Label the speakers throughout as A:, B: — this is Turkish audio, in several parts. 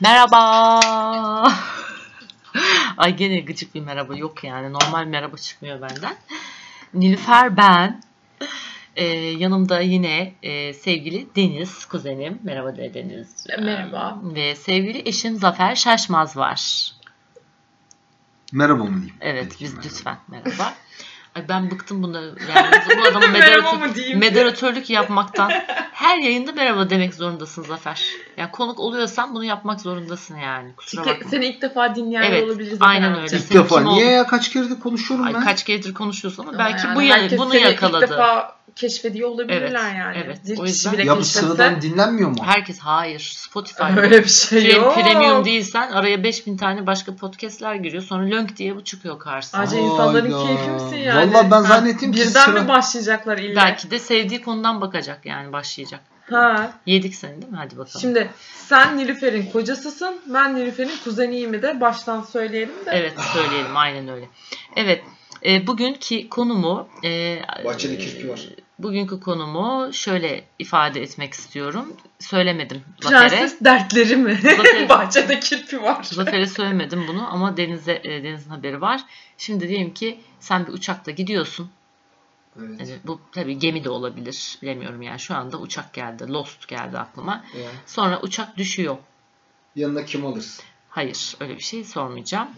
A: Merhaba. Ay gene gıcık bir merhaba yok yani. Normal merhaba çıkmıyor benden. Nilüfer ben. Ee, yanımda yine e, sevgili Deniz kuzenim. Merhaba de Deniz.
B: Merhaba.
A: Ve sevgili eşim Zafer Şaşmaz var.
C: Merhaba mı diyeyim?
A: Evet
C: Peki,
A: biz
C: merhaba.
A: lütfen merhaba. Ay ben bıktım bunu. Yani bu adamın
B: Merhaba
A: moderatör-
B: mı diyeyim?
A: moderatörlük yapmaktan. Her yayında merhaba demek zorundasın Zafer. Yani konuk oluyorsan bunu yapmak zorundasın yani. Kusura
B: Çünkü
A: bakma.
B: seni ilk defa dinleyen
A: Evet,
B: olabiliriz.
A: aynen
B: Zafer
A: öyle.
B: amca.
C: İlk
A: Senin
C: defa
A: kim
C: niye
A: oldu?
C: ya kaç keredir konuşuyorum
A: Ay
C: ben.
A: kaç keredir konuşuyorsun ama
B: Ama
A: belki
B: yani
A: bu ya,
B: herkes
A: bunu
B: seni
A: yakaladı.
B: İlk defa keşfediyor olabilirler
A: Evet,
B: yani.
A: evet.
B: Bir
A: O
B: kişi
A: yüzden-
B: bile
C: ya bu
B: keşfetse-
C: sıradan dinlenmiyor mu?
A: Herkes hayır Spotify.
B: Öyle bir şey
A: Pre-
B: yok.
A: premium değilsen araya 5000 tane başka podcastler giriyor. Sonra lönk diye bu çıkıyor karşısına.
B: Acı
C: Hayda.
B: insanların keyfi misin yani?
C: Vallahi ben
B: Ha,
C: zannettim ki
B: Birden
C: sıra-
B: mi başlayacaklar illa?
A: Belki de sevdiği konudan bakacak yani başlayacak.
B: Ha.
A: Yedik seni değil mi? Hadi bakalım.
B: Şimdi sen Nilüfer'in kocasısın. Ben Nilüfer'in kuzeniyimi de baştan söyleyelim de.
A: Evet söyleyelim aynen öyle. Evet e, bugünkü konumu e,
C: Bahçede kirpi var.
A: Bugünkü konumu şöyle ifade etmek istiyorum. Söylemedim Zafer'e.
B: Prenses dertleri mi?
A: Zafer'e-
B: Bahçede kirpi var.
A: Zafer'e söylemedim bunu ama Deniz'e e, Deniz'in haberi var. Şimdi diyelim ki sen bir uçakta gidiyorsun.
C: Evet.
A: E, bu tabii gemi de olabilir. Bilemiyorum yani şu anda uçak geldi. Lost geldi aklıma.
C: Ya.
A: Sonra uçak düşüyor.
C: Yanına kim alırsın?
A: Hayır öyle bir şey sormayacağım.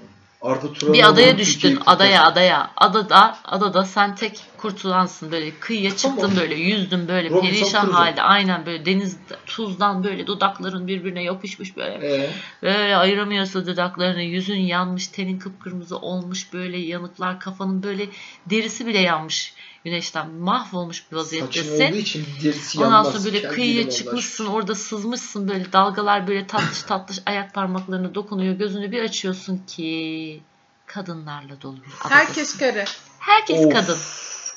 C: Arda Turan
A: Bir adaya düştün. Adaya adaya. Adada adada sen tek kurtulansın. Böyle kıyıya çıktın
C: Tamam.
A: böyle yüzdün böyle
C: Robinson
A: perişan
C: Crusoe.
A: halde. Aynen böyle deniz tuzdan böyle dudakların birbirine yapışmış böyle.
C: Ee,
A: Böyle ayıramıyorsun dudaklarını. Yüzün yanmış, tenin kıpkırmızı olmuş böyle yanıklar, kafanın böyle derisi bile yanmış. Güneşten mahvolmuş bir
C: saçın
A: vaziyettesin.
C: olduğu için derisi yanmaz.
A: Ondan sonra böyle
C: Kel
A: kıyıya
C: değilim Allah
A: çıkmışsın
C: aşkına.
A: orada sızmışsın böyle dalgalar böyle tatlış tatlış ayak parmaklarına dokunuyor gözünü bir açıyorsun ki kadınlarla dolu bir adadasın.
B: Herkes karı.
A: Herkes
C: Of,
A: kadın.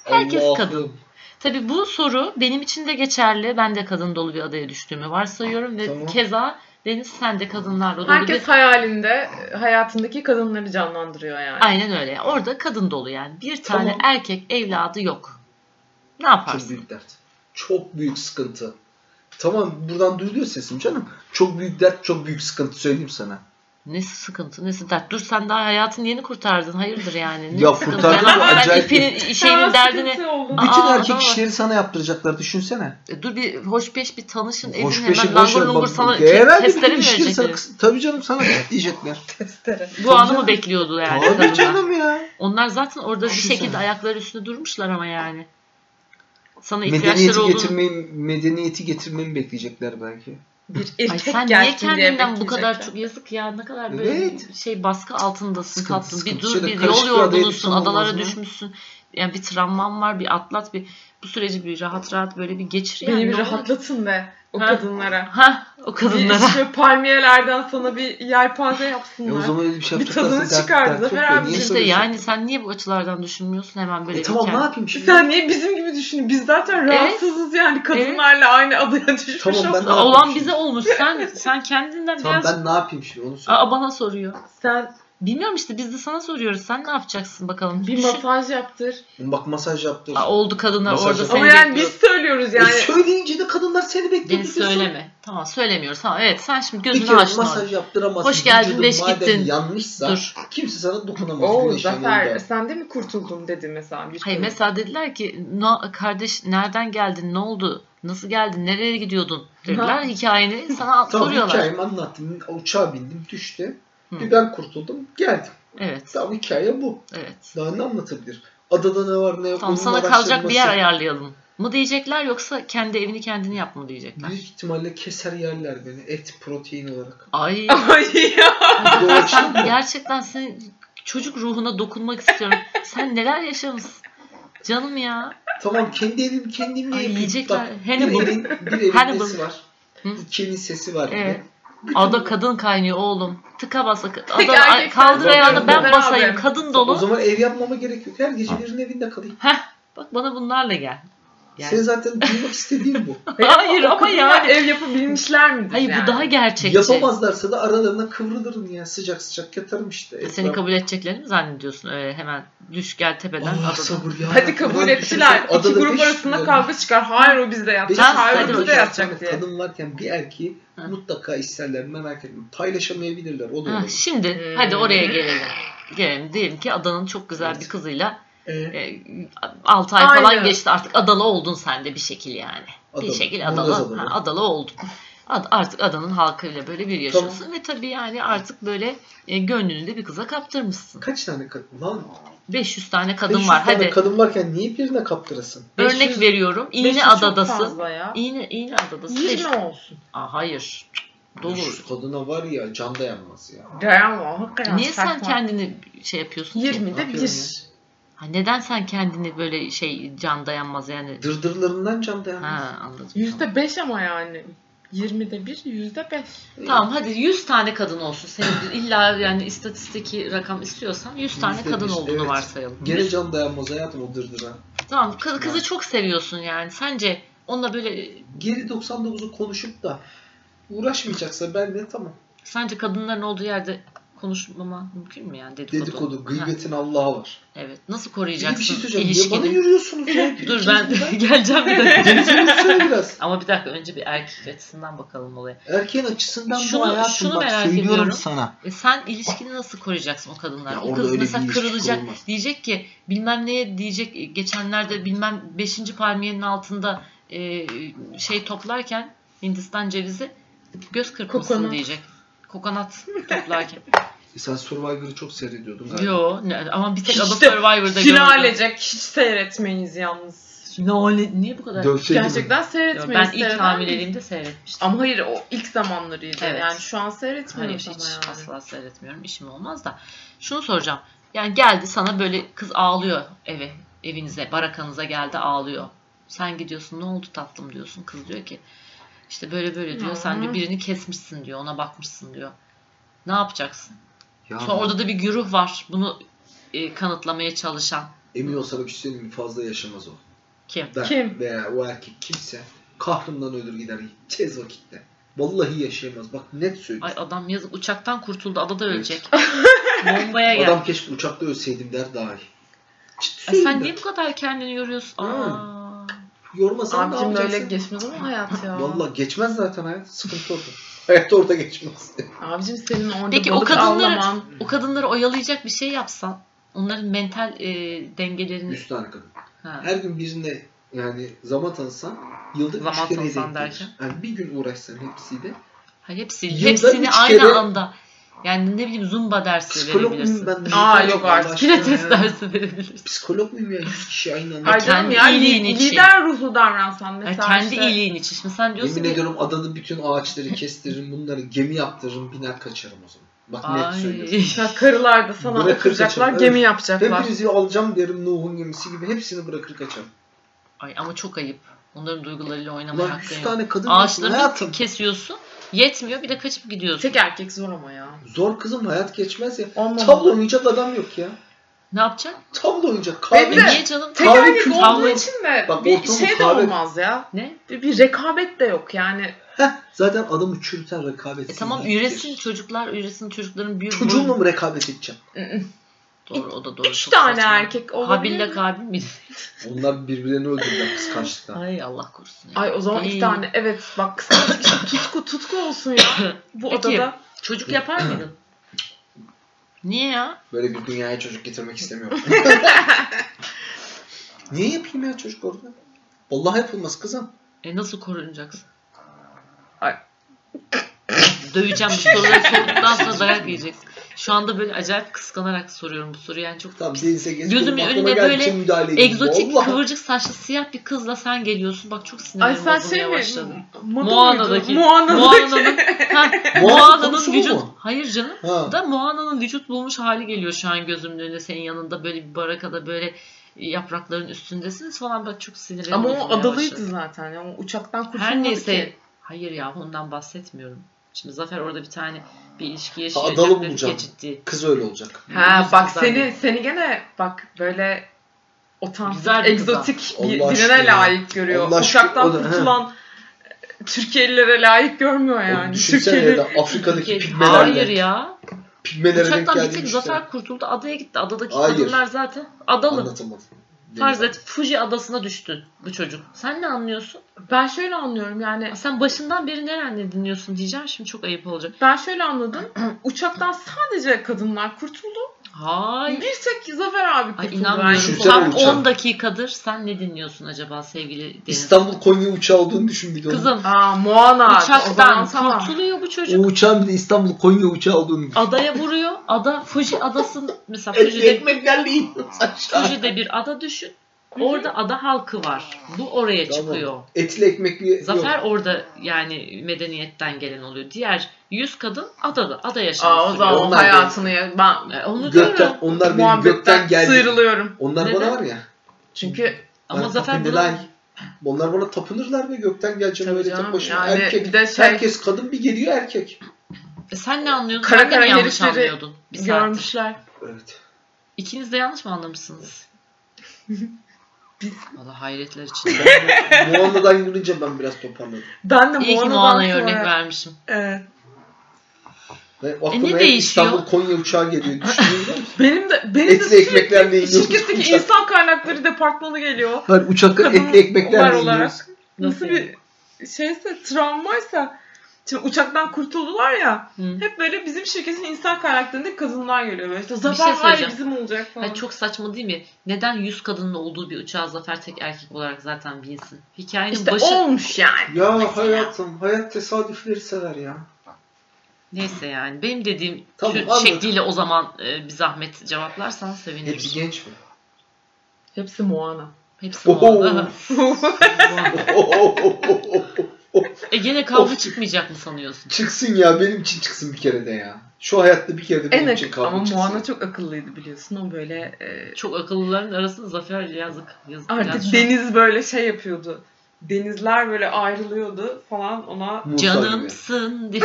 A: Herkes
C: Allah'ım.
A: kadın. Tabi bu soru benim için de geçerli. Ben de kadın dolu bir adaya düştüğümü varsayıyorum ve
C: Tamam.
A: keza Deniz sen de kadınlarla dolu bir
B: Herkes hayalinde e, hayatındaki kadınları canlandırıyor yani.
A: Aynen öyle. Orada kadın dolu yani. Bir tane
C: Tamam.
A: erkek evladı yok. Ne
C: Çok
A: yaparsın?
C: büyük dert. Çok büyük sıkıntı. Tamam buradan duyuluyor sesim canım. Çok büyük dert, çok büyük sıkıntı söyleyeyim sana.
A: Nesi sıkıntı, nesi dert? Dur sen daha hayatını yeni kurtardın. Hayırdır yani? Ne
C: Ya
A: sıkıntı?
C: kurtardım
A: Ben-
C: da
A: ben
C: acayip
A: ipinin, şeyinin
B: Tamam,
A: derdini...
B: sıkıntı oldu.
A: Aa,
C: Bütün erkek
A: adama bak.
C: işleri sana yaptıracaklar düşünsene.
A: E, Dur bir hoşbeş bir tanışın. Edin
C: Hoş
A: hemen
C: peşi boş
A: langur
C: ver.
A: lungur
C: bak-
A: sana
C: Herhalde
A: ke- testleri
C: bütün
A: mi
C: ilişkileri sana-
A: verecekler?
C: Tabii canım sana diyecekler.
B: Testere.
A: Bu anı mı
C: canım.
A: bekliyordu yani?
C: Tabii
A: kadınlar?
C: canım ya.
A: Onlar zaten orada bir
C: Düşünsene.
A: şekilde ayakları üstünde durmuşlar ama yani. Sana ihtiyaçları
C: Medeniyeti
A: olduğunu...
C: getirmeyi, medeniyeti getirmemi bekleyecekler belki.
B: Bir
A: Ay
B: erkek
A: sen niye
B: gelsin diye
A: kendinden bu kadar
B: bekleyecekler.
A: çok yazık ya ne kadar böyle
C: Evet.
A: bir şey baskı altındasın
C: Sıkıntı,
A: tatlım. Bir
C: sıkıntı.
A: dur
C: Şöyle
A: bir
C: karışık
A: yol
C: bir adaya
A: yorgunusun
C: düşsen olmaz
A: adalara
C: mı?
A: düşmüşsün. Yani bir travman var bir atlat bir bu süreci bir rahat rahat böyle bir geçir şey yani.
B: Beni bir
A: ne olur.
B: rahatlatın be o
A: Ha.
B: kadınlara.
A: Ha o
B: Bir
A: kadınlara.
B: işte palmiyelerden sana bir yelpaze
C: E
B: yapsınlar.
C: o zaman öyle bir şey
B: Bir
C: yapacaklar.
B: tadını çıkardı Zafer abi. niye
A: işte yani sen niye bu açılardan düşünmüyorsun hemen böyle
C: E tamam ne
A: kendi-
C: yapayım şimdi?
B: Sen niye bizim gibi düşünün? Biz zaten
A: Evet.
B: rahatsızız yani kadınlarla aynı adaya düşmüş
C: Tamam, ben-
B: olduk.
C: Ne yapayım
A: Olan
C: şimdi?
A: bize olmuş. Sen sen kendinden
C: Tamam
A: biraz
C: ben ne yapayım şimdi onu söyle.
A: Aa, bana soruyor.
B: Sen
A: Bilmiyorum işte biz de sana soruyoruz. Sen ne yapacaksın bakalım?
B: bir
A: Düşün.
B: masaj yaptır.
C: Bak masaj yaptır.
A: Aa, oldu kadınlar
C: Masaj
A: orada
C: yap-
A: seni
B: Ama yani
A: bekliyor.
B: biz söylüyoruz
C: E
B: yani.
C: söyleyince de kadınlar seni bekliyor.
A: Deniz
C: biliyorsun.
A: söyleme. Tamam söylemiyoruz. Tamam evet sen şimdi
C: Bir
A: gözünü
C: kere
A: açtın.
C: masaj
A: orada.
C: yaptıramazsın.
A: Hoş geldin,
C: Vücudun
A: beş
C: madem
A: gittin.
C: yanlışsa
A: Dur.
C: kimse sana dokunamaz.
B: Oo
C: güneşin
B: Zafer
C: yanında.
B: sen de mi kurtuldun dedi mesela. Bir
A: Hayır
B: kadın.
A: mesela dediler ki "Na- kardeş nereden geldin? Ne oldu? Nasıl geldin? Nereye gidiyordun? Dediler
B: Ha.
A: hikayeni sana
C: Tamam
A: soruyorlar.
C: hikayemi anlattım. Uçağa bindim düştü.
A: Hı.
C: Bir ben kurtuldum geldim.
A: Evet.
C: Tamam hikaye bu.
A: Evet.
C: Daha ne anlatabilir? Adada ne var ne yok.
A: Tamam
C: onun
A: sana kalacak bir yer
C: araştırması.
A: ayarlayalım. Mı diyecekler yoksa kendi evini kendini yap mı diyecekler.
C: Büyük ihtimalle keser yerler beni. Et protein olarak.
A: Ay
B: Ay ya.
C: Bir de o açtın mı?
A: gerçekten sen çocuk ruhuna dokunmak istiyorum. Sen neler yaşamışsın? Canım ya.
C: Tamam kendi evim kendim
A: Ay,
C: yiyeyim.
A: yiyecekler.
C: Bak,
A: Hannibal.
C: Bir evin, bir evin
A: Hannibal.
C: nesi var.
A: Hı?
C: İkinin sesi var. bir de.
A: Evet.
C: Bütün
A: Ada
C: bu-
A: kadın kaynıyor oğlum. Tıka basa.
B: Peki
A: Ada, ay-
B: erkekler-
A: kaldır ayağını ben
B: Beraber.
A: basayım. Kadın
C: O
A: dolu.
C: zaman ev yapmama gerek yok. Her gece birinin evinde kalayım.
A: Bak bana bunlarla gel. Yani-
C: Sen zaten duymak istediğin bu.
A: Hayır ama yani.
B: Ev yapabilmişler mi?
A: Hayır bu daha gerçekçi.
C: Yapamazlarsa da aralarına kıvrılırım ya sıcak sıcak yatarım işte.
A: Seni kabul edeceklerini mi zannediyorsun öyle hemen düş gel tepeden
C: Allah
A: adadan.
C: sabır ya.
B: Hadi kabul
C: Ulan
B: ettiler.
C: düşünsene,
B: İki
C: şey adada
B: grup
C: beş-
B: arasında kavga çıkar. Hayır o bizde
C: beş-
B: yapacak. Hayır
A: hadi
B: o
A: bakalım.
B: bizde yapacak diye.
C: Kadın varken bir erkeği
A: Ha.
C: mutlaka isterler merak etme. Paylaşamayabilirler o da
A: Ha,
C: olur.
A: şimdi
B: Hmm.
A: hadi oraya gelelim. Gelelim diyelim ki Adan'ın çok güzel
C: Evet.
A: bir kızıyla
C: Ee,
A: 6 ay
B: Aynen.
A: falan geçti artık Adalı oldun sen de bir şekil yani. Bir şekil
C: Muğlaz
A: Adalı,
C: Adalı.
A: ha, Adalı oldun. Ad- artık Adan'ın halkıyla böyle bir yaşıyorsun ve tabii yani artık böyle e, gönlünü de bir kıza kaptırmışsın.
C: Kaç tane kadın lan?
A: 500 tane kadın
C: 500
A: var
C: tane
A: hadi
C: kadın varken niye birine kaptırasın?
A: örnek
B: 500
A: veriyorum
B: Beşi
A: İğne
B: çok
A: Adadasın.
B: fazla ya.
A: İğne, İğne Adadasın.
B: 20
A: Beş-
B: olsun.
A: Aa, hayır. Dolu.
C: 500 kadına var ya can dayanmaz ya.
B: Dayanma. Hakikaten
A: Niye sen
B: saçma.
A: kendini şey yapıyorsun ki?
B: 20'de
C: Yapıyorum
B: 1.
A: Ha, neden sen kendini böyle şey can dayanmaz yani?
C: Dırdırlarından can dayanmaz.
A: Ha anladım.
B: Yüzde 5 ama yani. 20'de 1, yüzde 5.
A: Tamam hadi 100 tane kadın olsun. Senin illa yani istatistiki rakam istiyorsan 100 tane
C: Yüzde
A: kadın
C: yüz,
A: olduğunu
C: evet.
A: varsayalım.
C: Gene can dayanmaz hayatım o dırdıra.
A: Tamam kız, kızı
C: Yani.
A: çok seviyorsun yani. Sence onunla böyle
C: Geri 99'u konuşup da uğraşmayacaksa ben de tamam.
A: sence kadınların olduğu yerde konuşmama mümkün mü yani dedikodu?
C: Dedikodu,
A: Ha,
C: gıybetin Allah'a var.
A: evet. Nasıl
C: Bir de
A: koruyacaksın
C: bir şey söyleyeceğim. Niye bana
A: ilişkini?
C: yürüyorsunuz ya?
A: Dur
C: İkiniz
A: ben
C: birden.
A: geleceğim bir dakika.
C: Gelsenize biraz.
A: Ama bir dakika önce bir erkek açısından bakalım olaya.
C: Erkeğin açısından
A: Şunu-
C: bu hayatım
A: şunu
C: bak
A: merak
C: söylüyorum
A: ediyorum.
C: sana.
A: E sen ilişkini nasıl koruyacaksın o kadınlar?
C: Ya
A: O
C: orada
A: kız
C: öyle bir
A: mesela
C: ilişki
A: kırılacak.
C: kurulmaz.
A: Diyecek ki bilmem neye diyecek e, geçenlerde bilmem 5. palmiyenin altında e, şey toplarken Hindistan cevizi göz kırpmışsın
B: Kokonat.
A: diyecek. Kokonat toplarken.
C: E sen Survivor'ı çok seyrediyordun galiba.
A: Yo ne- ama bir tek Ada
B: İşte
A: Survivor'da gördüm.
B: Finalecek. Hiç seyretmeyiniz yalnız.
A: Finale. Niye bu kadar?
C: Dövseydi şey mi?
B: Gerçekten
A: Yo,
B: seyretmeyiz.
A: ben ilk
B: seyreden-
A: hamileliğimde seyretmiştim.
B: Ama hayır o ilk zamanlarıydı.
A: Evet.
B: Yani şu an
A: Hayır
B: seyretmiyoruz
A: hiç
B: ama yani.
A: asla seyretmiyorum. İşim olmaz da. Şunu soracağım. Yani geldi sana böyle kız ağlıyor eve, evinize, barakanıza geldi ağlıyor. Sen gidiyorsun ne oldu tatlım diyorsun. Kız diyor ki işte böyle böyle diyor. Sen diyor,
B: Hı.
A: birini kesmişsin diyor. Ona bakmışsın diyor. Ne yapacaksın?
C: Ya
A: Sonra orada da bir güruh var. Bunu e, kanıtlamaya çalışan
C: emin ol sana bir şey söyleyeyim mi? Fazla yaşamaz o.
A: kim?
C: Ben
B: Kim?
C: veya o erkek kimse kahrından ölür gider tez vakitte. Vallahi yaşayamaz. Bak net
A: Ay
C: söylüyorum.
A: adam yazık uçaktan kurtuldu. Adada ölecek. Bombaya gel.
C: Adam keşke uçakta ölseydim der dahi.
A: Ay,
C: Ciddi
A: sen
C: söylüyorum
A: niye bu kadar kendini yoruyorsun?
C: Hı.
A: Aa.
C: ben. Yormasan ne
B: Abicim öyle
C: yapacaksın?
B: geçmez ama hayat ya.
C: Valla geçmez zaten hayat. Sıkıntı orada. hayat orada geçmez.
B: Abicim senin orada
A: Peki, o
B: balık
A: kadınları-
B: avlaman.
A: O kadınları oyalayacak bir şey yapsan onların mental e, dengelerini
C: 100 tane kadın.
A: ha.
C: Her gün birine yani zaman tanısan yılda
A: Zaman
C: 3 kere
A: tanısan
C: denk
A: derken?
C: gelir. Yani bir gün uğraşsan hepsiyle.
A: Ha, hepsi,
C: Yılda
A: hepsini
C: üç
A: aynı
C: kere-
A: anda yani ne bileyim zumba dersi
C: Psikolog muyum
A: verebilirsin.
C: ben?
B: Aa, yok
C: Allah
B: artık.
C: aşkına
A: Pilates
C: ya.
A: dersi verebilirsin.
C: Psikolog muyum ya 100 kişi aynı anda?
B: Ay
A: Kendi
B: canım ya li-
A: iyiliğin için.
B: lider ruhlu davransan mesela
A: Yani kendi
B: işte.
A: iyiliğin için. Şimdi sen diyorsun
C: Yemin
A: ki
C: ediyorum adanın bütün ağaçları kestiririm, bunları gemi yaptırırım, biner kaçarım o zaman. Bak net söylüyorum.
A: ay
B: Ya karılar da sana
C: Bırakır
B: oturacaklar,
C: kaçar,
B: gemi
C: evet.
B: yapacaklar.
C: Hepinizi alacağım derim Nuh'un gemisi gibi hepsini bırakır kaçarım.
A: ay ama çok ayıp. Onların duygularıyla oynamaya
C: Ulan
A: hakkın yok.
C: 100 tane kadın
A: Ağaçları
C: hayatım.
A: kesiyorsun. Yetmiyor bir de kaçıp gidiyorsun.
B: Tek erkek zor ama ya.
C: Zor kızım hayat geçmez ya.
B: Olmamalı.
C: Tavla oynayacak adam yok ya.
A: Ne yapacaksın?
C: Tavla oynayacak.
B: Ve
A: E
B: bir
C: Kahve
B: de-
A: niye canım?
B: Tek
C: Kahve
B: erkek
C: kültürü-
B: olduğu için de
C: Bak,
B: bir
C: ortamı
B: şey de
C: kahve-
B: olmaz ya.
A: Ne? E,
B: Bir, bir rekabet de yok yani.
C: Heh, zaten adamı çürüten rekabet.
A: E tamam üresin çocuklar üresin çocukların büyük
C: Çocuğumla
A: boyu-
C: mı rekabet edeceğim?
A: Doğru o da doğru.
B: Üç
A: çok
B: tane
A: saçma.
B: erkek olabilir.
A: Habille kabil mi?
C: Onlar birbirlerini öldürdüler kıskançlıktan.
A: Ay Allah korusun. ya.
B: Ay o zaman
A: Ay.
B: iki tane. Evet bak kıskanç kişi tutku tutku olsun ya. Bu
A: Peki.
B: odada.
A: Çocuk yapar mıydın? Niye ya?
C: Böyle bir dünyaya çocuk getirmek istemiyorum. Niye yapayım ya çocuk orada? Vallahi yapılmaz kızım.
A: E nasıl korunacaksın?
B: Ay.
A: Döveceğim bu soruları sorduktan sonra dayak yiyeceksin. Şu anda böyle acayip kıskanarak soruyorum bu soruyu. Yani çok
C: Tamam
A: pis.
C: denize gezdim.
A: Gözümün
C: aklıma
A: önüne
C: geldi,
A: böyle
C: kim müdahale edeyim?
A: Egzotik
C: Vallahi.
A: kıvırcık saçlı siyah bir kızla sen geliyorsun. Bak çok sinirim
B: Ay sen
A: bozulmaya
B: şey mi?
A: başladı.
B: Moda
A: Moana'daki.
B: muydu? Moana'daki.
A: Moana'nın, ha,
C: Moana
A: Moana'nın
C: konusu bu
A: vücut.
C: mu?
A: Hayır canım.
C: Ha.
A: Da Moana'nın vücut bulmuş hali geliyor şu an gözümün önünde. Senin yanında böyle bir barakada böyle yaprakların üstündesiniz falan. Bak çok sinirim
B: Ama o
A: bozulmaya başladı.
B: adalıydı şey. zaten. ya. O uçaktan kurtulmadı
A: Her neyse.
B: ki.
A: Hayır ya ondan bahsetmiyorum. Şimdi Zafer orada bir tane bir ilişki
C: adalı
A: yaşayacak dedi
C: bulacağım.
A: ki ciddi.
C: Kız öyle olacak.
B: Ha
A: Yüz
B: bak
A: kızlar
B: seni
A: dedi.
B: seni gene bak böyle otantik,
A: Güzel bir kız ha.
B: egzotik bir
C: Allah aşkına
B: birine
C: ya.
B: layık görüyor.
C: Allah aşkına,
B: Uçaktan
C: o da- he.
B: kurtulan e, Türkiye'lilere layık görmüyor yani.
C: O düşünsene
B: Türkiye'li
C: ya da Afrika'daki
A: Hayır
C: pigmelerle.
A: ya.
C: Pigmelere denk
A: Uçaktan bir
C: geldiğini
A: tek
C: düşünsene.
A: Zafer kurtuldu. Adaya gitti. Adadaki
C: Hayır.
A: kadınlar zaten adalı.
C: Anlatamadım.
A: Farz et Fuji adasına düştü bu çocuk. Sen ne anlıyorsun?
B: Ben şöyle anlıyorum yani.
A: Ya Sen başından beri nereden dinliyorsun diyeceğim şimdi çok ayıp olacak.
B: Ben şöyle anladım. Uçaktan sadece kadınlar kurtuldu.
A: Hayır.
B: Bir tek Zafer abi
A: Ay
B: kurtuldu. yani.
A: inanmıyorum.
C: Düşünsene
A: Tam
C: uçak.
A: 10 dakikadır sen ne dinliyorsun acaba sevgili Deniz?
C: İstanbul Konya uçağı olduğunu düşün bir de onun.
A: Kızım
B: Aa Moana. O zaman
A: uçaktan
B: tamam.
A: kurtuluyor bu
C: O
A: çocuk.
C: uçağın bir de İstanbul Konya uçağı olduğunu düşün.
A: Adaya vuruyor. Ada Fuji adası mesela
C: Et,
A: Fuji'de,
C: ekmeklerle yiyoruz aşağı.
A: Fuji'de bir ada düşün. Orada ada halkı var. Bu oraya
C: Tamam.
A: çıkıyor.
C: Etli ekmekli
A: Zafer
C: yok.
A: orada yani medeniyetten gelen oluyor. Diğer 100 kadın adada, ada yaşamı
B: Aa o
A: sürüyor.
B: zaman
C: Şey, Onlar
B: hayatını ya- ben
A: E, Onu diyorum.
C: Gökten, onlar benim gökten
B: muhabbetten
C: geldi.
B: sıyrılıyorum.
C: Onlar
A: Neden?
C: bana var ya.
B: Çünkü
A: Ama
C: bana
A: Zafer bunu...
C: tapınırlar. Onlar bana tapınırlar ve gökten geleceğim
B: Tabii
C: öyle
B: canım,
C: tek başıma.
B: yani
C: erkek.
B: bir de şey-
C: Herkes kadın bir geliyor erkek.
A: E, Sen ne anlıyorsun?
B: Kara
A: Sen de mi
B: kara
A: yanlış
B: herifleri
A: anlıyordun? Bir saattir.
B: görmüşler.
C: Evet.
A: İkiniz de yanlış mı anlamışsınız? Valla hayretler içinde.
C: Ben bu- Moana'dan yürüyünce ben biraz toparladım.
B: Ben de
A: İyi ki
B: Moana'dan
A: Moana'ya
B: sonra-
A: örnek vermişim.
B: Evet.
C: Ve
A: ne
C: aklıma hep
A: değişiyor?
C: İstanbul Konya uçağı geliyor. Düşünüyor musun?
B: Benim de benim de
C: Etli
B: sürekli
C: ekmeklerle yiyoruz.
B: şirketteki
C: Uçak-
B: insan kaynakları departmanı geliyor.
C: Hayır, uçakta
B: Kadın
C: etli ekmeklerle
B: onlar olarak.
C: yiyoruz.
B: Nasıl bir şeyse travmaysa şimdi uçaktan kurtuldular ya
A: Hı.
B: hep böyle bizim şirketin insan kaynaklarında kadınlar geliyor. Böyle İşte
A: şey
B: zafer hayır
A: söyleyeceğim.
B: bizim olacak falan.
A: Hayır, çok saçma değil mi? Neden 100 kadının olduğu bir uçağa Zafer tek erkek olarak zaten binsin? Hikayenin
B: işte
A: başı...
B: olmuş yani.
C: Ya hayatım, hayat tesadüfleri sever ya.
A: Neyse yani benim dediğim
C: Tamam,
A: tür-
C: anladım.
A: şekliyle o zaman e, bir zahmet cevaplarsan sevinirim.
C: Hepsi genç mi?
B: Hepsi Moana.
A: Hepsi Moana. Ege'de E, kavga
C: Of.
A: çıkmayacak mı sanıyorsun?
C: çıksın ya, benim için çıksın bir kere de ya. Şu hayatta bir kere de benim
B: en
C: için
B: akıllı
C: kavga
B: ama
C: çıksın.
B: Moana çok akıllıydı biliyorsun. O böyle e,
A: Çok akıllıların arasında Zafer yazık. yazık
B: artık
A: biraz şu an.
B: deniz böyle şey yapıyordu. Denizler böyle ayrılıyordu falan ona
C: Musa gibi.
A: Canımsın diye.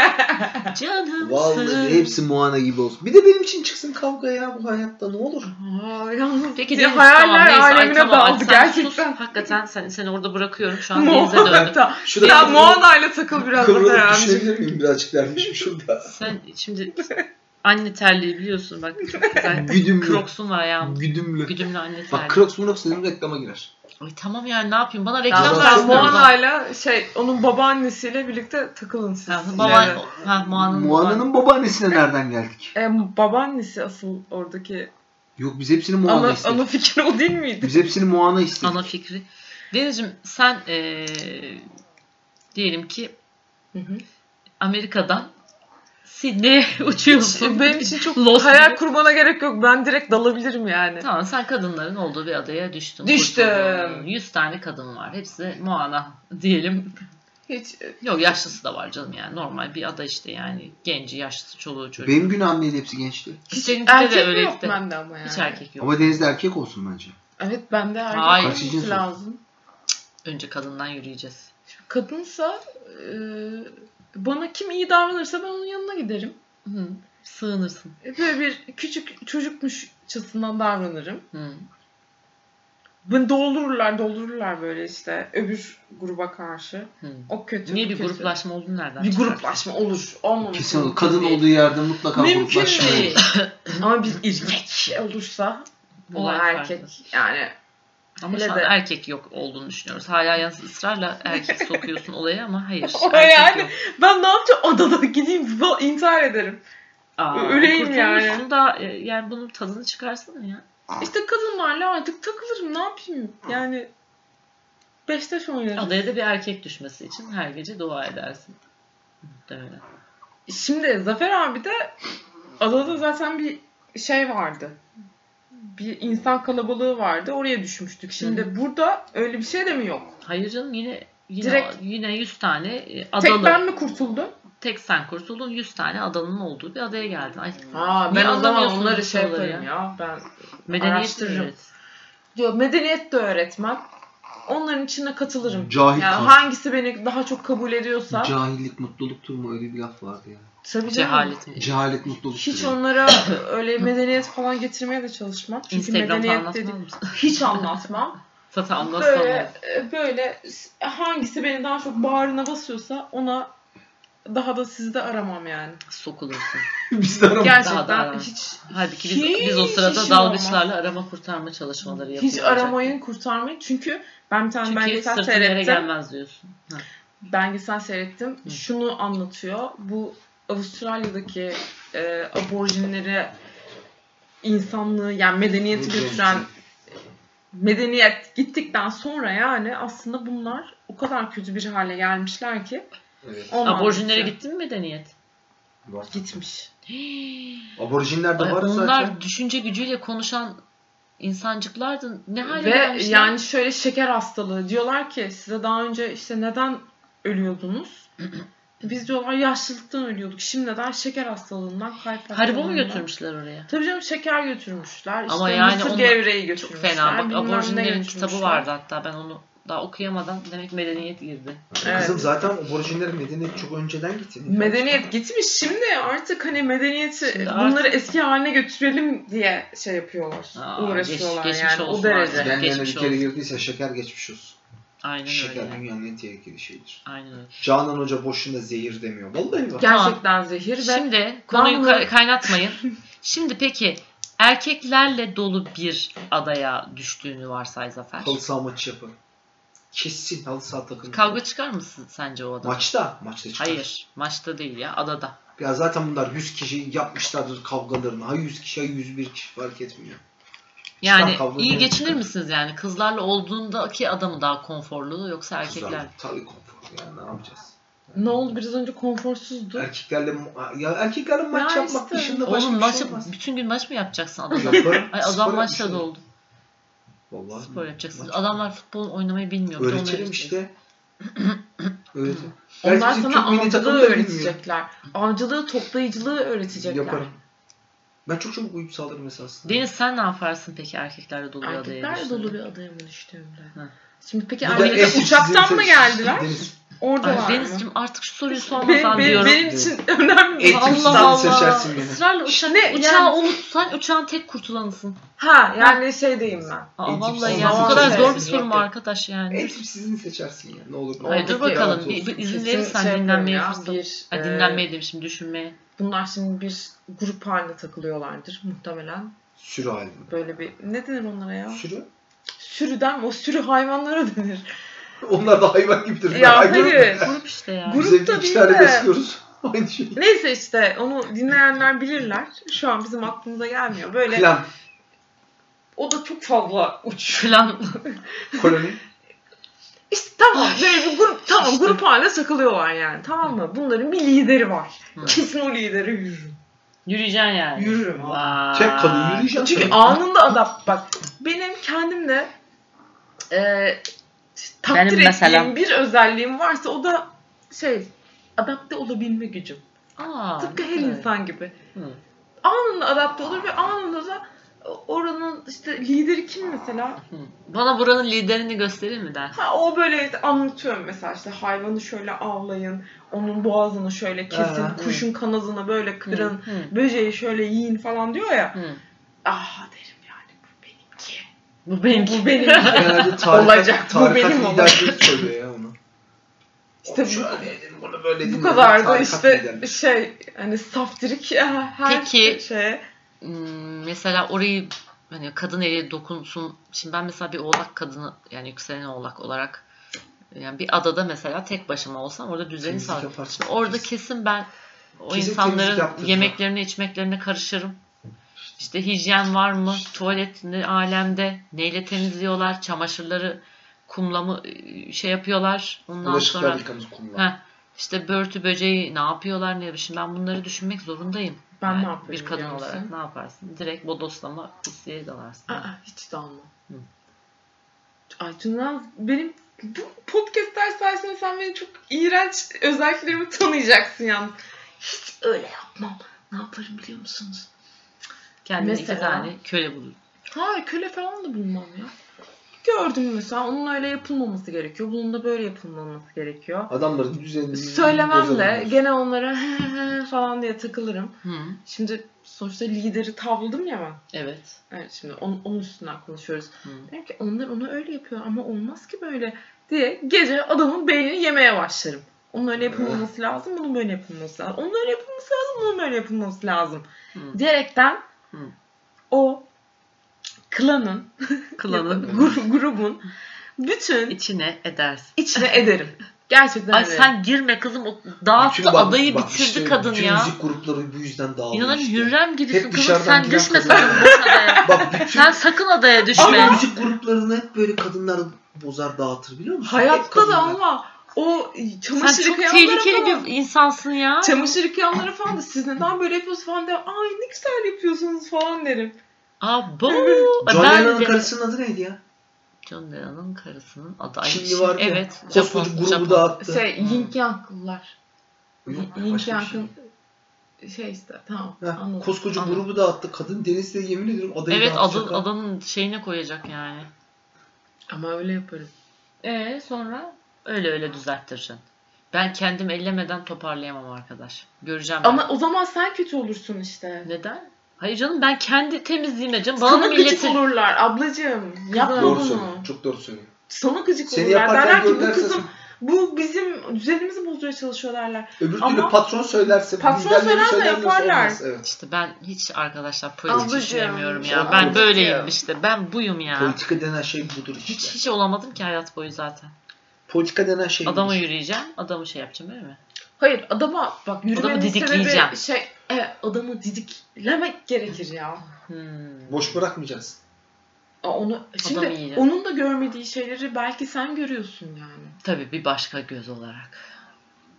A: Canımsın.
C: Vallahi hepsi Moana gibi olsun. Bir de benim için çıksın kavga ya bu hayatta ne olur.
B: Aa, yalnız
A: Peki
B: bir
A: Deniz
B: hayaller
A: tamam, neyse, ay
B: alemine
A: tamam, ay
B: daldı
A: sen sus.
B: gerçekten.
A: Hakikaten sen, seni orada bırakıyorum şu an denize
B: Moana.
A: döndüm.
B: Ta-
C: Şurada
B: Ya
C: kıvrılıp-
B: Moana'yla takıl biraz da
C: Kıvrılıp şey-
B: Ferhan'cığım.
C: düşebilir miyim birazcık dermişim şurada.
A: Sen şimdi anne terliği biliyorsun bak çok güzel.
C: Güdümlü.
A: Crocs'un var ayağımda.
C: Güdümlü.
A: Güdümlü anne terliği.
C: Bak Crocs Murox dedim reklama girer.
A: Ay tamam yani ne yapayım bana reklam
B: Tamam
C: Tamam,
A: versin.
B: ben
C: tamam.
A: Moana.
B: Moana'yla şey onun babaannesiyle birlikte takılın siz.
A: Ha, baba,
B: Evet.
A: ha, Moana'nın
C: Moana'nın babaannesine nereden geldik?
B: E, babaannesi asıl oradaki.
C: Yok biz hepsini Moana
B: Ana,
C: istedik.
B: ana fikir o değil miydi?
C: Biz hepsini Moana istedik.
A: ana fikri. Deniz'cim sen eee, diyelim ki Amerika'dan Sydney'e uçuyorsun.
B: Benim için çok
A: Los
B: hayal
A: Angeles.
B: kurmana gerek yok. Ben direkt dalabilirim yani.
A: Tamam sen kadınların olduğu bir adaya düştün.
B: Düştüm.
A: kurtuldun. 100 tane kadın var. Hepsi Moana diyelim.
B: Hiç e,
A: Yok yaşlısı da var canım yani. Normal bir ada işte yani. Genci, yaşlısı, çoluğu, çocuğu.
C: Benim günahım değil hepsi gençti.
A: Seninkide
B: erkek mi yok
A: işte.
B: bende ama yani.
A: Hiç erkek yok.
C: Ama Deniz'de erkek olsun bence.
B: Evet bende erkek
A: Hayır.
B: olması
C: Kaçıncı
B: lazım.
A: Önce kadından yürüyeceğiz.
B: Şimdi kadınsa e, bana kim iyi davranırsa ben onun yanına giderim.
A: Hı. Sığınırsın.
B: E, Böyle bir küçük çocukmuşçasından davranırım.
A: Hı.
B: Bunu doldururlar doldururlar böyle işte öbür gruba karşı.
A: Hı.
B: O kötü.
A: Niye
B: bu
A: bir
B: kötü.
A: gruplaşma olduğunu nereden
B: Bir
A: çıkardın?
B: gruplaşma olur. Olmamış.
C: Kesin
B: olur.
C: olur. Kadın
B: Değil.
C: olduğu yerde mutlaka
B: Mümkün
C: gruplaşma.
B: değil. Ama bir erkek olursa o
A: Olay
B: erkek
A: farklı.
B: yani
A: Ama
B: Hele
A: şu an
B: de-
A: erkek yok olduğunu düşünüyoruz. Hala yalnız ısrarla erkek sokuyorsun olaya ama hayır.
B: Ama
A: erkek
B: yani-
A: yok.
B: ben ne yapacağım adada gideyim bu- intihar ederim.
A: Aa,
B: Öleyim
A: kurtulmuşsun
B: yani.
A: da e, yani bunun tadını çıkarsana ya.
B: İşte kadınlarla artık takılırım ne yapayım yani Beşiktaş oynarım.
A: Adaya da bir erkek düşmesi için her gece dua edersin. Muhtemelen.
B: Şimdi Zafer abi de adada zaten bir şey vardı. Bir insan kalabalığı vardı. Oraya düşmüştük. Şimdi
A: Hı
B: burada öyle bir şey de mi yok?
A: Hayır canım yine yine,
B: Direkt-
A: yine 100 tane e,
B: Tek
A: adalı.
B: ben mi kurtuldum?
A: Tek sen kurtuldun 100 tane adalının olduğu bir adaya geldin. Ay,
B: Ha
A: Niye anlamıyorsunuz bu soruları
B: ya. Ben
A: medeniyet
B: Araştırırım.
A: öğret.
B: diyor medeniyet de öğretmen. onların içine katılırım.
C: Cahil
B: Yani
C: kan.
B: hangisi beni daha çok kabul ediyorsa
C: Cahillik mutluluktur mu? Öyle bir laf vardı ya.
B: tabii canım.
A: Cehalet mi?
C: Cehalet mutluluktur.
B: E, Hiç
C: ya.
B: onlara öyle medeniyet falan getirmeye de çalışmam. Çünkü
A: Instagram'da
B: medeniyet
A: anlatmaz
B: dedim
A: mısın?
B: hiç anlatmam.
A: Zaten anlatsam
B: böyle e, böyle s- hangisi beni daha çok bağrına basıyorsa ona daha da sizi de aramam yani.
A: sokulursun.
C: Biz de aramak.
A: Daha da
B: Gerçekten
A: aramam.
B: hiç
A: Halbuki biz,
B: Hiç
A: biz o sırada
B: işim
A: dalgıçlarla arama kurtarma çalışmaları yapıyoruz.
B: hiç aramayın, kurtarmayın. Çünkü ben bir tane
A: Çünkü
B: belgesel
A: sırtın yere
B: seyrettim.
A: gelmez diyorsun. Ha.
B: belgesel seyrettim.
A: Hı.
B: Şunu anlatıyor. Bu Avustralya'daki e, aborjinlere insanlığı yani medeniyeti
C: Medeniyet.
B: götüren medeniyet gittikten sonra yani aslında bunlar o kadar kötü bir hale gelmişler ki
C: Evet.
B: olmaması.
A: Aborjinlere gittin mi medeniyet?
C: Var.
B: gitmiş.
C: Aborjinler de
A: Ay,
C: var
A: onlar
C: zaten.
A: düşünce gücüyle konuşan insancıklardı. Ne hale
B: Ve
A: gelmişler?
B: yani şöyle şeker hastalığı diyorlar ki size daha önce işte neden ölüyordunuz? Biz diyorlar yaşlılıktan ölüyorduk. Şimdiden şeker hastalığından
A: Haribo
B: kalp
A: mu
B: hastalığından.
A: götürmüşler oraya?
B: Tabii canım şeker götürmüşler.
A: Ama
B: işte
A: yani
B: mısır
A: onlar-
B: gevreği
A: Çok
B: götürmüşler.
A: fena. Bak
B: bilmem ne
A: aborjinlerin kitabı
B: götürmüşler.
A: vardı hatta ben onu daha okuyamadan demek medeniyet girdi.
B: Evet.
C: Kızım zaten aborjinlerin medeniyeti çok önceden gitti.
B: Medeniyet gitmiş şimdi artık hani medeniyeti
A: Şimdi
B: bunları
A: artık-
B: eski haline götürelim diye şey yapıyorlar.
A: Aa,
B: uğraşıyorlar
A: geç- geçmiş
B: yani o
A: olsun
B: derece.
A: artık.
C: Genlerine bir
A: Geçmiş
C: kere
A: olsun.
C: girdiyse şeker geçmiş olsun.
A: Aynen
C: şeker
A: öyle.
C: dünyanın en tehlikeli şeyidir.
A: Aynen öyle.
C: Canan Hoca boşuna zehir demiyor. Vallahi bak.
B: Gerçekten zehir ve
A: Şimdi konuyu
B: bunları-
A: ka- kaynatmayın. Şimdi peki erkeklerle dolu bir adaya düştüğünü varsay Zafer.
C: Halı saha maçı yapar. Kesin halı saha takımı.
A: Kavga çıkar mısın sence o adada?
C: Maçta. Maçta çıkar.
A: Hayır. Maçta değil ya. Adada.
C: Ya zaten bunlar 100 kişi yapmışlardır kavgalarını. Ha 100 kişi ha 101 kişi fark etmiyor.
A: Yani
C: kavga
A: iyi
C: değil.
A: geçinir misiniz yani? Kızlarla olduğundaki adam mı daha konforlu yoksa erkekler?
C: Kızlar, Tabii konfor yani ne yapacağız?
B: ne oldu biraz önce konforsuzdu.
C: Erkeklerle ya erkeklerle maç
B: Ya
C: yapmak
B: işte.
C: dışında başka
A: Oğlum
C: bir
A: maç
C: şey olmaz.
A: bütün gün maç mı yapacaksın adada?
C: Yaparım.
A: Ay
C: Spor
A: adam maçla
C: yapmışım.
A: doldu.
C: Vallahi
A: Spor yapacaksınız.
C: maç-
A: Adamlar futbol oynamayı bilmiyor. bir de onu
C: Öğretelim işte. Öğretelim.
B: Onlar
C: Belki bizim
B: sana
C: Türk milli
B: avcılığı
C: takım da bilmiyor.
B: öğretecekler. Avcılığı toplayıcılığı öğretecekler.
C: Yaparım. Ben çok çabuk uyup sağlarım esasında.
A: Deniz sen ne yaparsın peki erkeklerle dolu bir adaya
B: Erkekler
A: düştüğünde?
B: dolu bir adaya mı düştüğümde?
A: Hı.
B: Şimdi peki
C: Bu da
B: erkekler
C: eski
B: uçaktan
C: sizin
B: mı
C: te-
B: geldiler?
C: Deniz,
A: Ay,
B: Oradalar mı?
A: Denizciğim artık şu soruyu
B: Benim,
A: sormasan
B: benim-
A: diyorum.
B: benim için önemli.
C: Eğitim
B: Allah
C: sistemi
B: Allah.
C: seçersin yine.
A: Israrla uçak,
B: İşte yani-
A: uçağı unutsan uçağın tek kurtulanısın.
B: Ha yani şeydeyim ben.
A: Aa,
C: Eğitim
A: vallahi
C: sistemi
A: ya bu
B: seçersin.
A: kadar zor bir
B: Seçersin,
A: soru mu
B: yok.
A: arkadaş yani?
C: Eğitim sizin seçersin ya. Ne olur ne
A: Ay,
C: olmaz.
A: dur
B: Oldu,
A: bakalım
C: Rahat
A: bir, bir
C: olsun.
A: izin
B: Kesin
A: verirsen
B: şey
A: dinlenmeye
B: yapıyorum ya,
A: fırsat.
B: bir,
A: Ha,
B: e,
A: dinlenmeye demişim düşünmeye.
B: Bunlar şimdi bir grup halinde takılıyorlardır muhtemelen.
C: Sürü halinde.
B: Böyle bir ne denir onlara ya?
C: Sürü.
B: Sürüden mi? O sürü hayvanlara denir.
C: Onlar da hayvan gibidir.
B: Ya
C: Hayvan-
B: hayır.
A: Grup işte ya.
B: Grup-
C: Bize
B: Grupta
C: iki
B: değil
C: tane
B: de.
C: besliyoruz. Aynı şey.
B: Neyse işte onu dinleyenler bilirler. Şu an bizim aklımıza gelmiyor. Böyle
C: Klan.
B: o da çok fazla uç.
A: Plan.
C: Koloni.
B: İşte tamam böyle bir grup tamam grup halinde takılıyorlar yani tamam mı? Bunların bir lideri var.
A: Hı.
B: Kesin o lideri yürürüm.
A: Yürüyeceksin yani.
B: Yürürüm abi.
A: Vay.
C: Tek Şey, kadın yürüyeceksin.
B: Çünkü
C: sen.
B: anında adapt bak. Benim kendimde e, takdir
A: Benim
B: ettiğim
A: mesela-
B: bir özelliğim varsa o da şey adapte olabilme gücüm.
A: Aa,
B: Tıpkı her
A: evet.
B: insan gibi.
A: Hı.
B: Anında adapte olur ve anında da oranın işte lideri kim mesela?
A: Hı. Bana buranın liderini gösterir mi dersin?
B: Ha, o böyle işte anlatıyorum mesela işte hayvanı şöyle avlayın, onun boğazını şöyle kesin,
C: Ha,
B: kuşun kanadını böyle
A: Hı,
B: kırın,
A: hı,
B: böceği şöyle yiyin falan diyor ya.
A: hı.
B: Ah derim yani bu benimki.
A: Bu benimki.
B: Bu benimki.
C: Genelde tarikat,
B: Olacak, bu
C: tarikat
B: benim
C: liderleri söylüyor ya onu.
B: İşte
C: Onu
B: bu-
C: şöyle edin, bunu böyle
B: Bu
C: edin.
B: kadar da
C: Tarikat
B: işte
C: liderleri.
B: şey hani saftirik ya, her
A: Peki.
B: şey.
A: Hmm, mesela orayı hani kadın eli dokunsun. Şimdi ben mesela bir oğlak kadını yani yükselen oğlak olarak yani bir adada mesela tek başıma olsam orada düzeni
C: Temizlik
A: sağlarım.
C: yaparsın.
A: Şimdi orada kesin ben o
C: Kesin temizlik
A: insanların
C: yaptırırım.
A: yemeklerine içmeklerine karışırım. İşte hijyen var mı? Tuvalet ne alemde? Neyle temizliyorlar? Çamaşırları kumla mı e, şey yapıyorlar? Ondan
C: Bulaşıklar
A: sonra
C: yıkamızı kullan.
A: Heh, işte börtü böceği ne yapıyorlar ne Şimdi ben bunları düşünmek zorundayım.
B: Ben
A: Yani
B: ne yapıyorum
A: Bir kadın
B: biliyor musun?
A: olarak ne yaparsın? Direkt bodoslama pisliğe dalarsın.
B: Aa, hiç dalma.
A: Hı.
B: Ay Tuna benim bu podcastler sayesinde sen beni çok iğrenç özelliklerimi tanıyacaksın yalnız. Hiç öyle yapmam. Ne yaparım biliyor musunuz?
A: Kendine iki
B: Mesela?
A: tane köle bulur.
B: Ha köle falan da bulmam ya. gördüm mesela. Onun öyle yapılmaması gerekiyor. Bunun da böyle yapılmaması gerekiyor.
C: Adamların düzenini
B: Söylemem de
C: bozamıyorsun.
B: gene onlara falan diye takılırım.
A: Hı,
B: Şimdi sonuçta lideri tavladım ya ben.
A: evet.
B: Evet, şimdi onun, onun üstünden konuşuyoruz.
A: Hı.
B: Derim ki onlar onu öyle yapıyor ama olmaz ki böyle diye gece adamın beynini yemeye başlarım. Onun öyle yapılmaması lazım, bunun böyle yapılması lazım. Onun öyle yapılması lazım, bunun böyle yapılması lazım.
A: Hı.
B: Diyerekten
A: Hı.
B: o klanın,
A: Klanın
B: gru- grubun bütün
A: içine edersin.
B: içine ederim. Gerçekten
A: Ay
B: ederim.
A: sen girme kızım o dağıttı
C: Bütün bak-
A: adayı
C: bak
A: bitirdi
C: işte
A: kadın
C: bütün
A: ya.
C: müzik grupları bu yüzden dağılıyor
A: İnanın
C: işte.
A: Hürrem gibisin
C: Hep
A: kızım
C: dışarıdan
A: sen
C: giren
A: düşme
C: kızlar.
A: sakın bu adaya.
C: Bak bütün,
A: Sen sakın adaya düşme.
C: bütün müzik gruplarını hep böyle kadınlar bozar dağıtır biliyor musun? Hep
B: Hayatta da
C: kadınlar.
B: ama o
A: Sen
B: çamaşır
A: çok
B: yıkayanlara
A: tehlikeli
B: falan,
A: bir insansın ya.
B: çamaşır yıkayanlara falan da siz neden böyle yapıyorsunuz falan der. Ay ne güzel yapıyorsunuz falan derim.
A: Aa, bu
C: John
A: ben
C: Lennon'ın
A: de-
C: karısının adı neydi ya?
A: John Lennon'ın karısının adı. Ay,
C: Çinli
A: Çin-
C: var ya.
A: Evet. Japon,
C: Koskoca
A: Japon.
C: grubu dağıttı.
B: Şey,
A: Hmm.
B: Yin Yang'lılar.
C: Yok,
B: Yin
C: başka bir şey.
B: Yang'ın şey işte tamam
C: Heh,
B: anladım.
C: koskoca
A: Anladım.
C: grubu dağıttı. Kadın denizde yemin ediyorum adayı
A: Evet
C: dağıtacak.
A: adı,
C: ha.
A: adanın şeyine koyacak yani.
B: Ama öyle yaparım.
A: Ee sonra? Öyle öyle düzelttireceksin. Ben kendim ellemeden toparlayamam arkadaş. Göreceğim ben.
B: Ama o zaman sen kötü olursun işte.
A: Neden? Hayır canım ben kendi temizliğime canım. Bana
B: Sana
A: da
B: gıcık
A: milletin...
B: olurlar ablacığım. Yapma
C: Doğru
B: bunu.
C: söylüyor. Çok doğru söylüyor.
B: Sana gıcık
C: Seni
B: olurlar. Derler
C: yaparken
B: ki bu
C: görürlerse
B: kızım bu bizim düzenimizi bozmaya çalışıyor derler.
C: öbür türlü
B: Ama-
C: patron söylerse
B: Patron
C: bizden biri
B: söylerse
C: söylemiyorsa
B: yaparlar.
C: olmaz. Evet.
A: İşte ben hiç arkadaşlar politik
B: Ablacığım,
A: düşünemiyorum ya.
C: ablacığım.
A: Ben böyleyim işte. Ben buyum ya.
C: Politika denen şey budur işte.
A: Hiç hiç olamadım ki hayat boyu zaten.
C: Politika denen şey
A: Adama
C: budur.
A: yürüyeceğim. Adamı şey yapacağım öyle mi?
B: Hayır adama bak yürümenin sebebi
A: didikleyeceğim.
B: şey evet, adamı didiklemek gerekir ya.
A: Hmm.
C: Boş bırakmayacaksın.
B: Aa, Onu şimdi
A: Adam iyice.
B: onun da görmediği şeyleri belki sen görüyorsun yani.
A: Tabii bir başka göz olarak.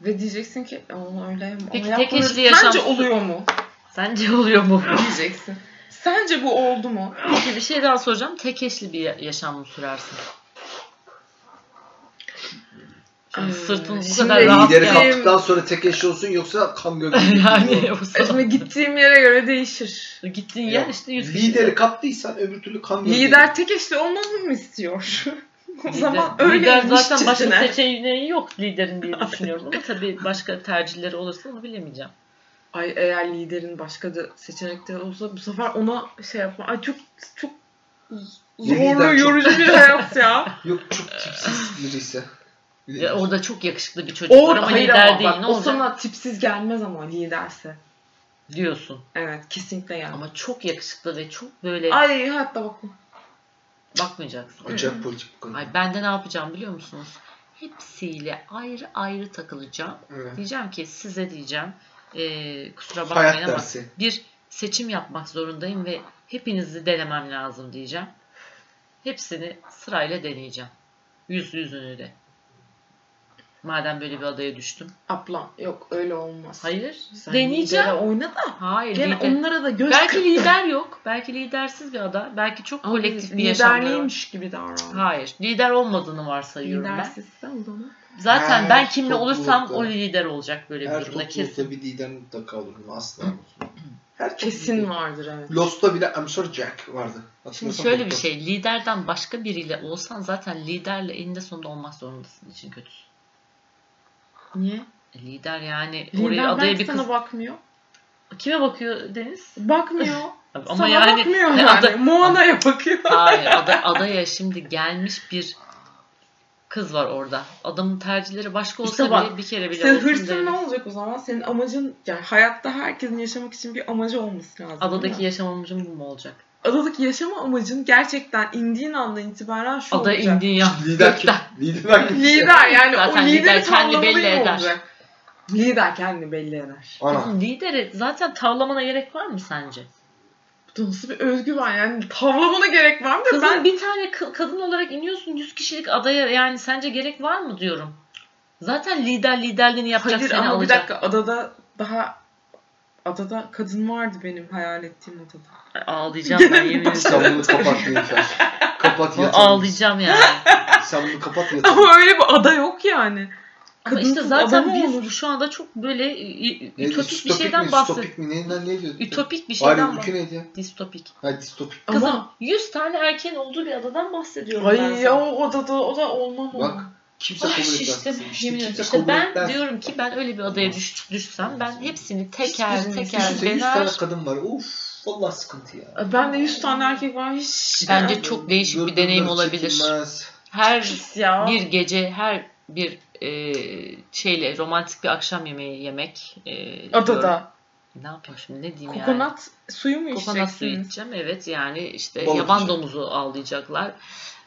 B: Ve diyeceksin ki "E, onu öyle ama
A: Peki,
B: yapmaları
A: tek eşli
B: Sence
A: yaşam-
B: oluyor mu?
A: Sence oluyor mu?
B: diyeceksin. Sence bu oldu mu?
A: Peki bir şey daha soracağım. Tek eşli bir ya- yaşam mı sürersin? Şimdi
B: Ee,
A: sırtın bu
B: şimdi
A: kadar rahat
C: Lideri
B: ya.
A: yani.
C: kaptıktan sonra tek eşi olsun yoksa kan gövdesi.
A: yani bu
B: E, Şimdi gittiğim yere göre değişir.
A: sabah- gittiğin yer işte 100 kişi.
C: Lideri kaptıysan öbür türlü kan gövdesi.
B: Lider tek eşli olmamı mı istiyor? o
A: Lider-
B: zaman öyle
A: lider
B: inmiş
A: zaten başka
B: çetine.
A: seçeneği yok liderin diye düşünüyorum ama tabii başka tercihleri olursa onu bilemeyeceğim.
B: Ay eğer liderin başka da seçenekleri olsa bu sefer ona şey yapma. Ay çok çok
C: Lider
B: zorlu
C: çok-
B: yorucu bir hayat ya.
C: Yok çok tipsiz birisi.
A: Ya orada çok yakışıklı bir çocuk
B: Ee, O
A: var ama
B: hayır
A: lider
B: ama
A: değil
B: bak,
A: ne
B: o
A: olacak
B: sana tipsiz gelmez ama liderse.
A: diyorsun.
B: Evet kesinlikle gelmez.
A: Ama çok yakışıklı ve çok böyle
B: Ay hatta bak
A: bakmayacaksın.
C: Acayip politik bu konu.
A: Ay ben de ne yapacağım biliyor musunuz? Hepsiyle ayrı ayrı takılacağım.
C: Evet.
A: Diyeceğim ki size diyeceğim eee, kusura bakmayın
C: Hayat
A: ama
C: dersi.
A: bir seçim yapmak zorundayım ve hepinizi denemem lazım diyeceğim. Hepsini sırayla deneyeceğim. Yüz yüzünü de. Madem böyle bir adaya düştüm.
B: ablam yok öyle olmaz.
A: Hayır.
B: Sen
A: deneyeceğim.
B: lidere Oyna da.
A: Hayır.
B: Gene
A: lider-
B: onlara da göz
A: Belki lider yok. Belki lidersiz bir ada. Belki çok
B: Ama
A: kolektif bir yaşamları var.
B: liderliymiş gibi davran.
A: Hayır. Lider olmadığını varsayıyorum ben.
B: Lidersizse o zaman.
A: Zaten
C: Her
A: ben kimle
C: toplulukta-
A: olursam o lider olacak böyle
C: Her
A: bir durumda Şey, kesin.
C: toplulukta bir lider mutlaka olur. Bunu Asla unutma. Her
B: Kesin
C: toplulukta.
B: vardır evet.
C: Lost'ta bile I'm sorry Jack vardı.
A: Şimdi
C: Hatırlasana
A: şöyle bir
C: doktor.
A: şey, liderden başka biriyle olsan zaten liderle eninde sonunda olmak zorundasın için kötüsü.
B: Niye?
A: E, Lider yani oraya
B: Lider
A: adaya
B: belki
A: bir
B: sana
A: kız...
B: bakmıyor.
A: Kime bakıyor Deniz?
B: Bakmıyor.
A: Ama
B: sana
A: yani
B: bakmıyor
A: ne
B: yani.
A: ada-
B: Moana'ya bakıyor.
A: Hayır, ada- adaya şimdi gelmiş bir kız var orada. Adamın tercihleri başka olsa
B: İşte
A: bile
B: bak,
A: bir kere bile
B: Senin
A: olsun
B: hırsın
A: Deniz.
B: ne olacak o zaman? Senin amacın yani hayatta herkesin yaşamak için bir amacı olması lazım. değil
A: Adadaki
B: mi?
A: yaşam amacım bu mu olacak?
B: adadaki yaşama amacın gerçekten indiğin andan itibaren şu
A: Ada
B: olacak.
A: indiğin ya.
C: Lider kim? Lider hangi?
B: Lider yani
A: Zaten
B: o
A: lider
B: lideri
A: kendi
B: tavlamalı
A: belli
B: mı
A: eder.
B: olacak? Lider kendini belli eder.
C: Ana.
A: Lideri zaten tavlamana gerek var mı sence?
B: Bu da nasıl bir özgüven yani tavlamana gerek var mı?
A: Kızım
B: ben
A: bir tane kı- kadın olarak iniyorsun 100 kişilik adaya yani sence gerek var mı diyorum. Zaten lider liderliğini yapacak
B: Hayır
A: seni
B: ama bir
A: alacak.
B: dakika adada daha adada kadın vardı benim hayal ettiğim adada.
A: Ağlayacağım ben yemin
C: Sen
A: ediyorum.
C: bunu kapat Nilüfer. Kapat
A: Bunu
C: yatağını.
A: Ağlayacağım yani.
C: Sen bunu kapat yatağını.
B: Ama öyle bir ada yok yani.
A: Ama
B: Kadın
A: işte
B: kız
A: zaten
B: adamı
A: biz
B: olur.
A: şu anda çok böyle ü-
C: Ne,
A: ütopik bir
C: distopik mi,
A: şeyden bahsediyoruz.
C: Distopik mi? Neyinden ne diyor?
A: Ütopik bir
C: Bari
A: şeyden
C: ülke
A: bahsediyoruz.
C: neydi ya?
A: Distopik.
C: Ha distopik.
A: Kızım
B: Ama
A: 100 tane erkeğin olduğu bir adadan bahsediyorum ben
B: ay
A: sana.
B: ya o odada o da olmam o.
C: Bak kimse
A: Ay
C: kabul etmez.
A: işte,
C: İşte
A: yemin
C: kimse
A: ederim.
C: kabul
A: İşte ben
C: etmez.
A: diyorum ki ben öyle bir adaya düş, düşsem ben hepsini teker
C: Hiçbir-
A: teker
C: hiçbir- yüz tane
A: dener.
C: kadın var. Uf valla sıkıntı ya.
B: Ben de 100 tane erkek var hiç.
A: Bence çok değişik bir
C: Gördüğüm
A: deneyim
C: dört
A: olabilir.
C: çekilmez.
A: Her
B: Pis ya.
A: bir gece, her bir e, şeyle romantik bir akşam yemeği yemek. e, diyorum.
B: Adada.
A: Ne yapayım şimdi ne diyeyim yani.
B: Kokonat suyu mu içeceksin?
A: Kokonat suyu içeceğim evet yani işte
C: Balık
A: yaban
C: yiyeceğim.
A: domuzu avlayacaklar.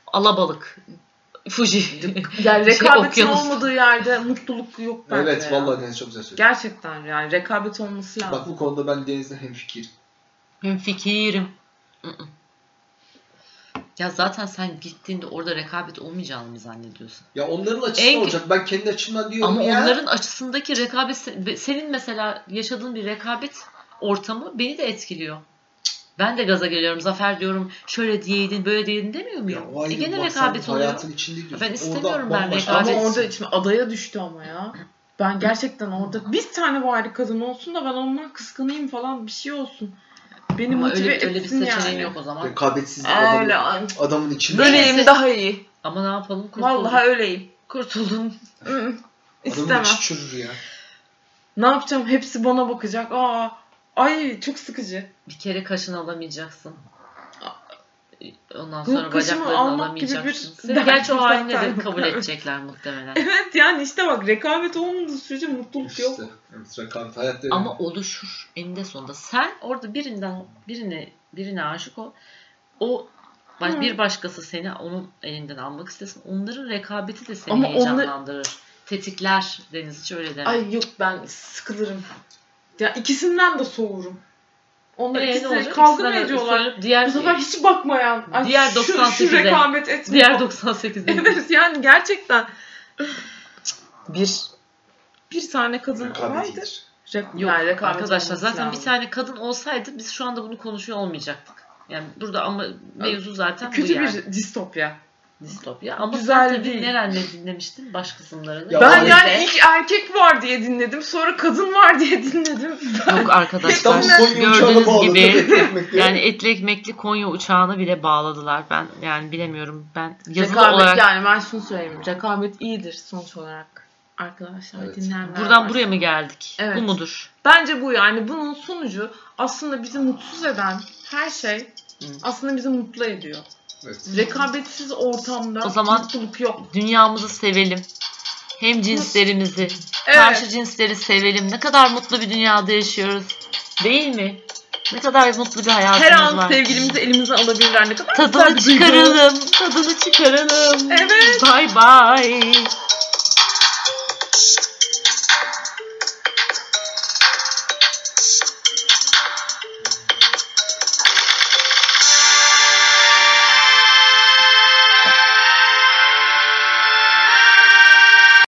A: Alabalık. Fuji.
B: Yani
A: Şey,
B: rekabetin
A: okyanus.
B: olmadı yerde mutluluk yok bence.
C: Evet
B: ya.
C: vallahi Deniz çok güzel söyledi.
B: Gerçekten yani rekabet olması lazım.
C: Bak bu konuda ben Deniz'le hemfikir.
A: Hem fikirim. Ya zaten sen gittiğinde orada rekabet olmayacağını mı zannediyorsun?
C: Ya onların açısı
A: En-
C: olacak. Ben kendi açımdan diyorum
A: Ama
C: ya.
A: onların açısındaki rekabet se- senin mesela yaşadığın bir rekabet ortamı beni de etkiliyor. Ben de gaza geliyorum. Zafer diyorum şöyle diyeydin böyle diyeydin demiyor
C: Ya
A: muyum?
C: o ayrı
A: E
C: bir
A: gene
C: bak, sen
A: rekabet oluyor.
C: Hayatın içinde gidiyorsun.
A: Ben istemiyorum ben
C: bambaşka-
B: Ama
A: rekabet.
C: Ama
B: orada içme adaya düştü ama ya. Ben gerçekten orada bir tane bari kadın olsun da ben ondan kıskanayım falan bir şey olsun. Beni
A: Ama
B: motive
A: öyle, öyle bir
B: etsin
A: seçeneğin
B: yani.
A: yok o zaman.
C: rekabetsizlik
B: Öyle.
C: adamın,
B: ay.
C: adamın içinde.
A: Böyle-
B: Böyleyim daha iyi.
A: Ama ne yapalım kurtuldum.
B: Vallahi öyleyim.
A: Kurtuldum.
B: Hı,
C: Adamın
B: İstemem.
C: içi çürür ya.
B: Ne yapacağım? Hepsi bana bakacak. Aa, ay çok sıkıcı.
A: Bir kere kaşını alamayacaksın. Ondan
B: Bu
A: sonra
B: kaşımı
A: bacaklarını
B: almak gibi bir
A: alamayacaksın. Seni
B: dert
A: gerçi o
B: zaten.
A: haline de kabul edecekler muhtemelen.
B: Evet yani işte bak rekabet olmadığı sürece mutluluk
C: İşte.
B: yok.
C: Evet, rekabet hayatta öyle.
A: Ama oluşur eninde sonunda. Sen orada birinden birine birine aşık ol. O bak
B: Hı.
A: bir başkası seni onun elinden almak istesin. Onların rekabeti de seni
B: Ama onlar-
A: heyecanlandırır. Tetikler Deniz hiç öyle deme.
B: Ay yok ben sıkılırım. Ya ikisinden de soğurum. Onlar
A: Ee, ne
B: ikisi
A: olacak?
B: kavga mı
A: İkisinden de
B: ediyorlar?
A: sorup Diğer,
B: Bu sefer hiç bakmayan. Ay,
A: Diğer
B: şu, şu
A: 98'de.
B: rekabet etmiyor.
A: diğer 98'de.
B: Evet yani gerçekten
A: Bir.
B: bir tane kadın
C: Rekabet
B: olaydır.
C: iyidir.
B: Re-
A: Yok
B: yani rekabet
A: arkadaşlar
B: olması
A: zaten
B: lazım.
A: bir tane kadın olsaydı biz şu anda bunu konuşuyor olmayacaktık. Yani burada ama mevzu zaten bu
B: kötü
A: yani.
B: bir distopya.
A: distopya. Ama
B: Güzel
A: sen tabii
B: değil.
A: nerenle dinlemiştin? Baş kısımlarını.
C: Ya
B: ben
C: o-
B: yani ilk erkek var diye dinledim. Sonra kadın var diye dinledim.
A: Yok arkadaşlar
C: İstanbul Konya uçağına
A: gördüğünüz
C: bağlı.
A: gibi
C: Ekmek yok.
A: yani etli ekmekli Konya uçağını bile bağladılar. Ben yani bilemiyorum ben yazılı
B: rekabet
A: olarak
B: yani ben şunu söyleyeyim. Rekabet iyidir sonuç olarak. Arkadaşlar
C: Evet.
B: dinleyenler
A: buradan
B: var.
A: buraya mı geldik?
B: Evet.
A: Bu mudur?
B: Bence bu yani bunun sonucu aslında bizi mutsuz eden her şey
A: Hı.
B: aslında bizi mutlu ediyor.
C: Evet.
B: Rekabetsiz ortamda
A: O zaman-
B: mutluluk yok.
A: Dünyamızı sevelim. Hem cinslerimizi,
B: Evet.
A: karşı cinsleri sevelim. Ne kadar mutlu bir dünyada yaşıyoruz. Değil mi? Ne kadar mutlu bir hayatımız
B: Her an
A: var.
B: sevgilimizi elimize alabilirler. Ne kadar güzel
A: Tadını
B: bir duygu.
A: çıkaralım. Tadını çıkaralım.
B: Evet.
A: Bay bay.